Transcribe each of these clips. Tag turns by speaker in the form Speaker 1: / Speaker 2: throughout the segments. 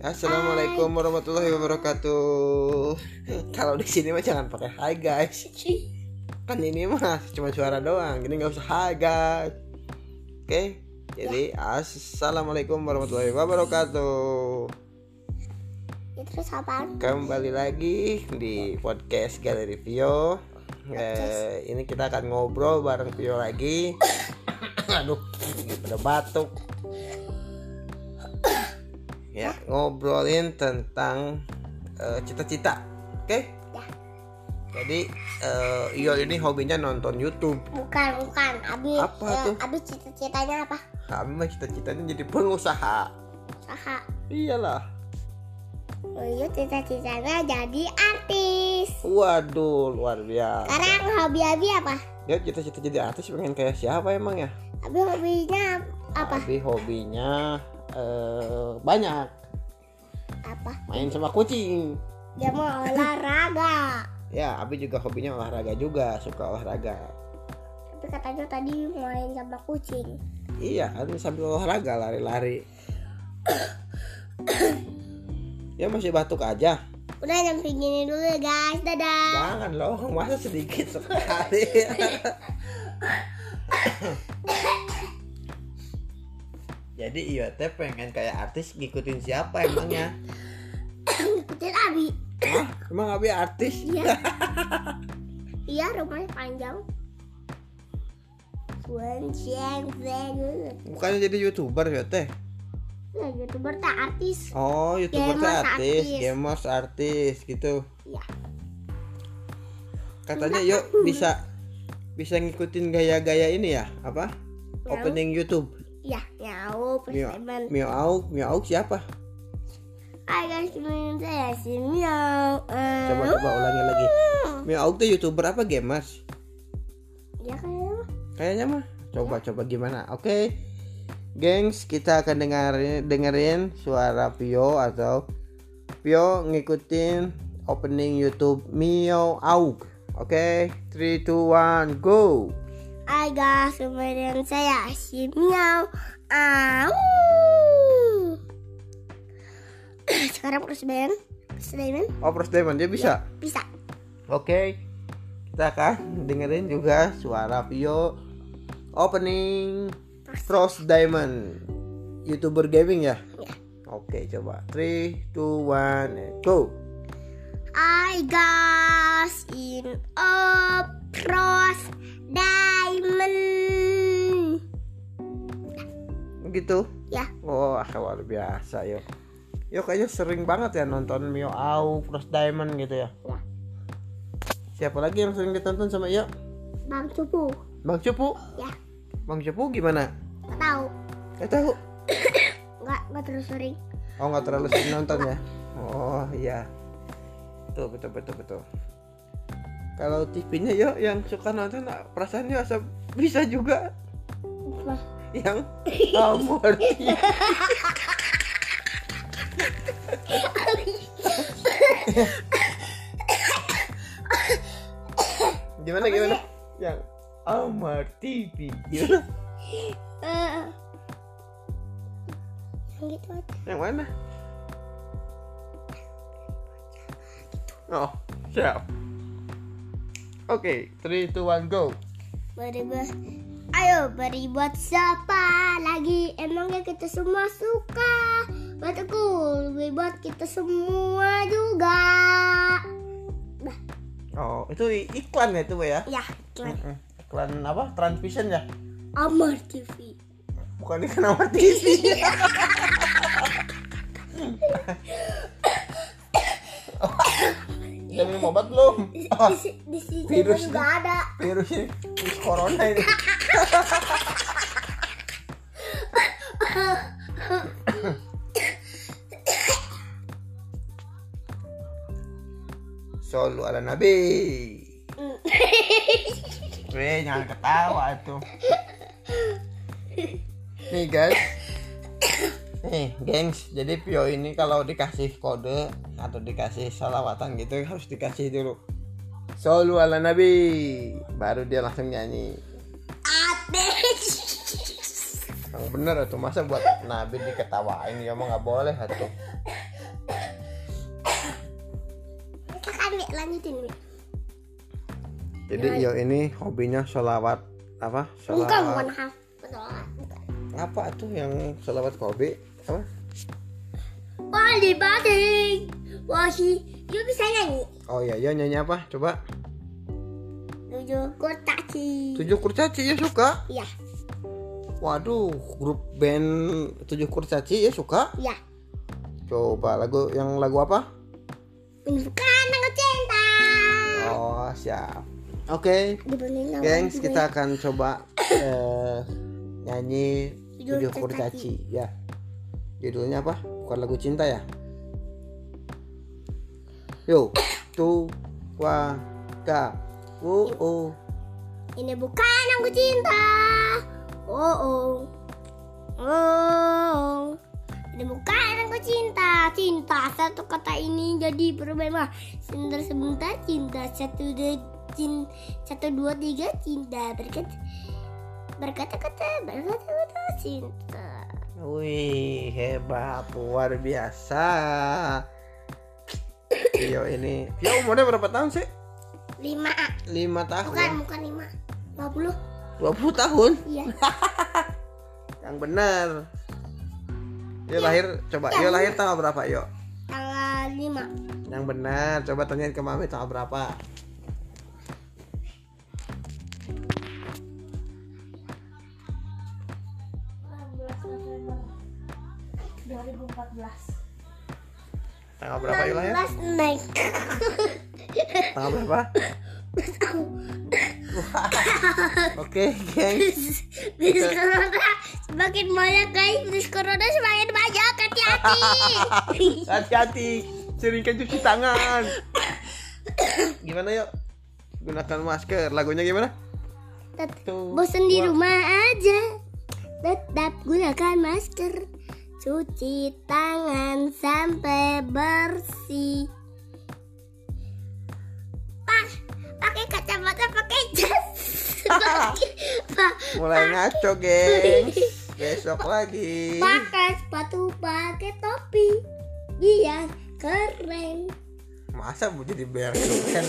Speaker 1: Assalamualaikum warahmatullahi wabarakatuh. Kalau di sini mah jangan pakai hi guys. Kan ini mah cuma suara doang. Jadi nggak usah hi guys. Oke. Jadi assalamualaikum warahmatullahi wabarakatuh.
Speaker 2: Ya, terus apaan?
Speaker 1: Kembali lagi di podcast Galeri Vio. Eh, ini kita akan ngobrol bareng Vio lagi. Aduh, udah batuk. Ya, ngobrolin tentang eh, cita-cita. Oke?
Speaker 2: Ya.
Speaker 1: Jadi eh Vio ini hobinya nonton YouTube.
Speaker 2: Bukan, bukan. Abi,
Speaker 1: Apa tuh?
Speaker 2: Abi cita-citanya apa?
Speaker 1: Kami mah cita-citanya jadi pengusaha.
Speaker 2: Usaha.
Speaker 1: Iyalah.
Speaker 2: Dulu Oh, iya, cita-citanya jadi artis.
Speaker 1: Waduh, luar biasa.
Speaker 2: Sekarang hobi Abi apa?
Speaker 1: Ya cita-cita jadi artis pengen kayak siapa emang ya?
Speaker 2: Abi hobinya apa?
Speaker 1: Tapi hobinya eh, banyak
Speaker 2: Apa?
Speaker 1: main sama kucing.
Speaker 2: Dia mau olahraga.
Speaker 1: Ya, Abi juga hobinya olahraga juga, suka olahraga.
Speaker 2: Tapi katanya tadi main sama kucing.
Speaker 1: Iya, kan sambil olahraga lari-lari. ya masih batuk aja.
Speaker 2: Udah jam segini dulu ya guys. Dadah.
Speaker 1: Jangan loh, masa sedikit sekali. Jadi IOT pengen kayak artis ngikutin siapa emangnya?
Speaker 2: Ikutin Abi.
Speaker 1: Hah? Emang Abi artis?
Speaker 2: Iya. iya rumahnya panjang. Wen Cheng Zeng.
Speaker 1: Bukannya jadi youtuber IOT?
Speaker 2: Ya youtuber tak artis.
Speaker 1: Oh, youtuber tuh
Speaker 2: Gamers
Speaker 1: artis,
Speaker 2: artis.
Speaker 1: gamers artis gitu.
Speaker 2: Iya.
Speaker 1: Katanya yuk bisa bisa ngikutin gaya-gaya ini ya, apa?
Speaker 2: Miau.
Speaker 1: Opening YouTube.
Speaker 2: Iya, nyau
Speaker 1: Mio,
Speaker 2: pertemuan.
Speaker 1: Mio Auk, Mio Auk siapa?
Speaker 2: Hai guys, kenalin saya si Miau. Eh, uh.
Speaker 1: Coba coba ulangi lagi.
Speaker 2: Oh.
Speaker 1: Mio Auk tuh youtuber apa gamers?
Speaker 2: Dia kayak
Speaker 1: Kayaknya mah. Coba
Speaker 2: Ya.
Speaker 1: coba gimana? Oke. Gengs, kita akan dengerin dengerin suara Pio atau Pio ngikutin opening YouTube Mio Auk. Oke, 3 2 1 go.
Speaker 2: Hai guys, kenalin saya si Miau. Au. Sekarang terus Ben. Sulaiman
Speaker 1: Oh, Pros Diamond, dia bisa.
Speaker 2: bisa.
Speaker 1: Oke. Kita akan dengerin juga suara Pio opening Frost Diamond. YouTuber gaming ya?
Speaker 2: Iya.
Speaker 1: Oke, coba. 3 2 1 go.
Speaker 2: I guys in a pros diamond.
Speaker 1: Gitu.
Speaker 2: Ya,
Speaker 1: Wah, luar biasa, yuk. Yuk kayaknya sering banget ya nonton Mio Au, Frost Diamond gitu ya.
Speaker 2: ya.
Speaker 1: Siapa lagi yang sering ditonton sama Iyo?
Speaker 2: Bang Cupu.
Speaker 1: Bang Cepu.
Speaker 2: Ya,
Speaker 1: Bang Cepu gimana?
Speaker 2: nggak tahu.
Speaker 1: Gak tahu.
Speaker 2: Nggak, nggak terus sering.
Speaker 1: Oh nggak terlalu sering nonton ya? Oh iya. Tuh betul betul betul. Kalau TV-nya yo yang suka nonton nah, perasaan yo asa- bisa juga
Speaker 2: Wah,
Speaker 1: yang kamu ngerti. gimana gimana? Yang Amar TV. Gimana?
Speaker 2: Eh, gitu aja.
Speaker 1: Yang mana? Oh, siap. Oke, 3 2 1 go.
Speaker 2: Beribut. Ayo beribut siapa lagi? Emangnya kita semua suka? Batuku beribut kita semua juga. Bah,
Speaker 1: Oh, itu i- iklan ya itu Bu, ya?
Speaker 2: ya, iklan
Speaker 1: Mm-mm. Iklan apa? Transvision ya?
Speaker 2: Amar TV.
Speaker 1: Bukan iklan Amar TV. Udah minum obat belum?
Speaker 2: Di, si- di sini
Speaker 1: Ah, Virus
Speaker 2: juga ada.
Speaker 1: Virus ini, virus corona ini. Solu ala Nabi. Weh, jangan ketawa tuh. Nih guys. Nih, gengs. Jadi Pio ini kalau dikasih kode atau dikasih salawatan gitu harus dikasih dulu. Solu ala Nabi. Baru dia langsung nyanyi.
Speaker 2: Ate.
Speaker 1: Yang bener tuh masa buat Nabi diketawain ya mah nggak boleh tuh.
Speaker 2: kan
Speaker 1: Jadi yo ini hobinya sholawat apa? Sholawat
Speaker 2: Bukan, bukan haf. Sholat. bukan.
Speaker 1: apa tuh yang sholawat kobe apa?
Speaker 2: Wali batik. Wahi. Lu bisa nyanyi?
Speaker 1: Oh iya, ya nyanyi apa? Coba.
Speaker 2: Tujuh kotak sih.
Speaker 1: Tujuh kurcaci ya suka.
Speaker 2: Iya,
Speaker 1: Waduh, grup band tujuh kurcaci ya suka.
Speaker 2: iya.
Speaker 1: Coba lagu yang lagu apa?
Speaker 2: Bukan aku cinta.
Speaker 1: Oh siap. Oke,
Speaker 2: Dibeliin sama
Speaker 1: gengs
Speaker 2: ibu
Speaker 1: kita akan coba eh, nyanyi
Speaker 2: Judul
Speaker 1: tujuh kurcaci ya. Judulnya apa? Bukan lagu cinta ya? Yo, tu, wa, ka, wu, u.
Speaker 2: Ini bukan aku cinta. Oh oh. Oh. Ini bukan aku cinta. Cinta satu kata ini jadi berbeda. Sebentar sebentar cinta satu de cin satu dua tiga cinta berkat berkata kata berkata kata cinta.
Speaker 1: Wih, hebat, luar biasa. Yo ini, yo umurnya berapa tahun sih?
Speaker 2: Lima A.
Speaker 1: 5 tahun.
Speaker 2: bukan bukan lima. Lima puluh.
Speaker 1: 20 tahun.
Speaker 2: Iya.
Speaker 1: Yang benar. Yuk lahir coba.
Speaker 2: Ya.
Speaker 1: Yuk lahir tanggal berapa, yuk?
Speaker 2: Tanggal lima.
Speaker 1: Yang benar. Coba tanyain ke Mami tanggal berapa.
Speaker 2: Dua ribu empat belas.
Speaker 1: Tanggal berapa yuk lahir?
Speaker 2: Mas naik.
Speaker 1: Tanggal berapa? Wah. Oke, gengs.
Speaker 2: Virus corona semakin banyak guys. Virus corona semakin banyak. Hati-hati.
Speaker 1: Hati-hati. Seringkan cuci tangan. Gimana, yuk? Gunakan masker. Lagunya gimana?
Speaker 2: Tet-
Speaker 1: Tuh.
Speaker 2: Bosan di
Speaker 1: Wah.
Speaker 2: rumah aja. Tetap gunakan masker. Cuci tangan sampai bersih. Pak, pakai kacamata, pakai jas. Pakai- pa-
Speaker 1: Mulai ngaco, gengs. Besok lagi.
Speaker 2: pakai sepatu, pakai topi. Biar keren.
Speaker 1: Masa mau jadi bear kan?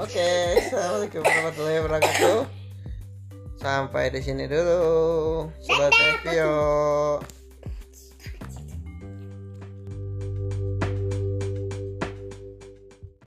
Speaker 1: Oke, assalamualaikum warahmatullahi wabarakatuh. Sampai di sini dulu. Sobat Tevio.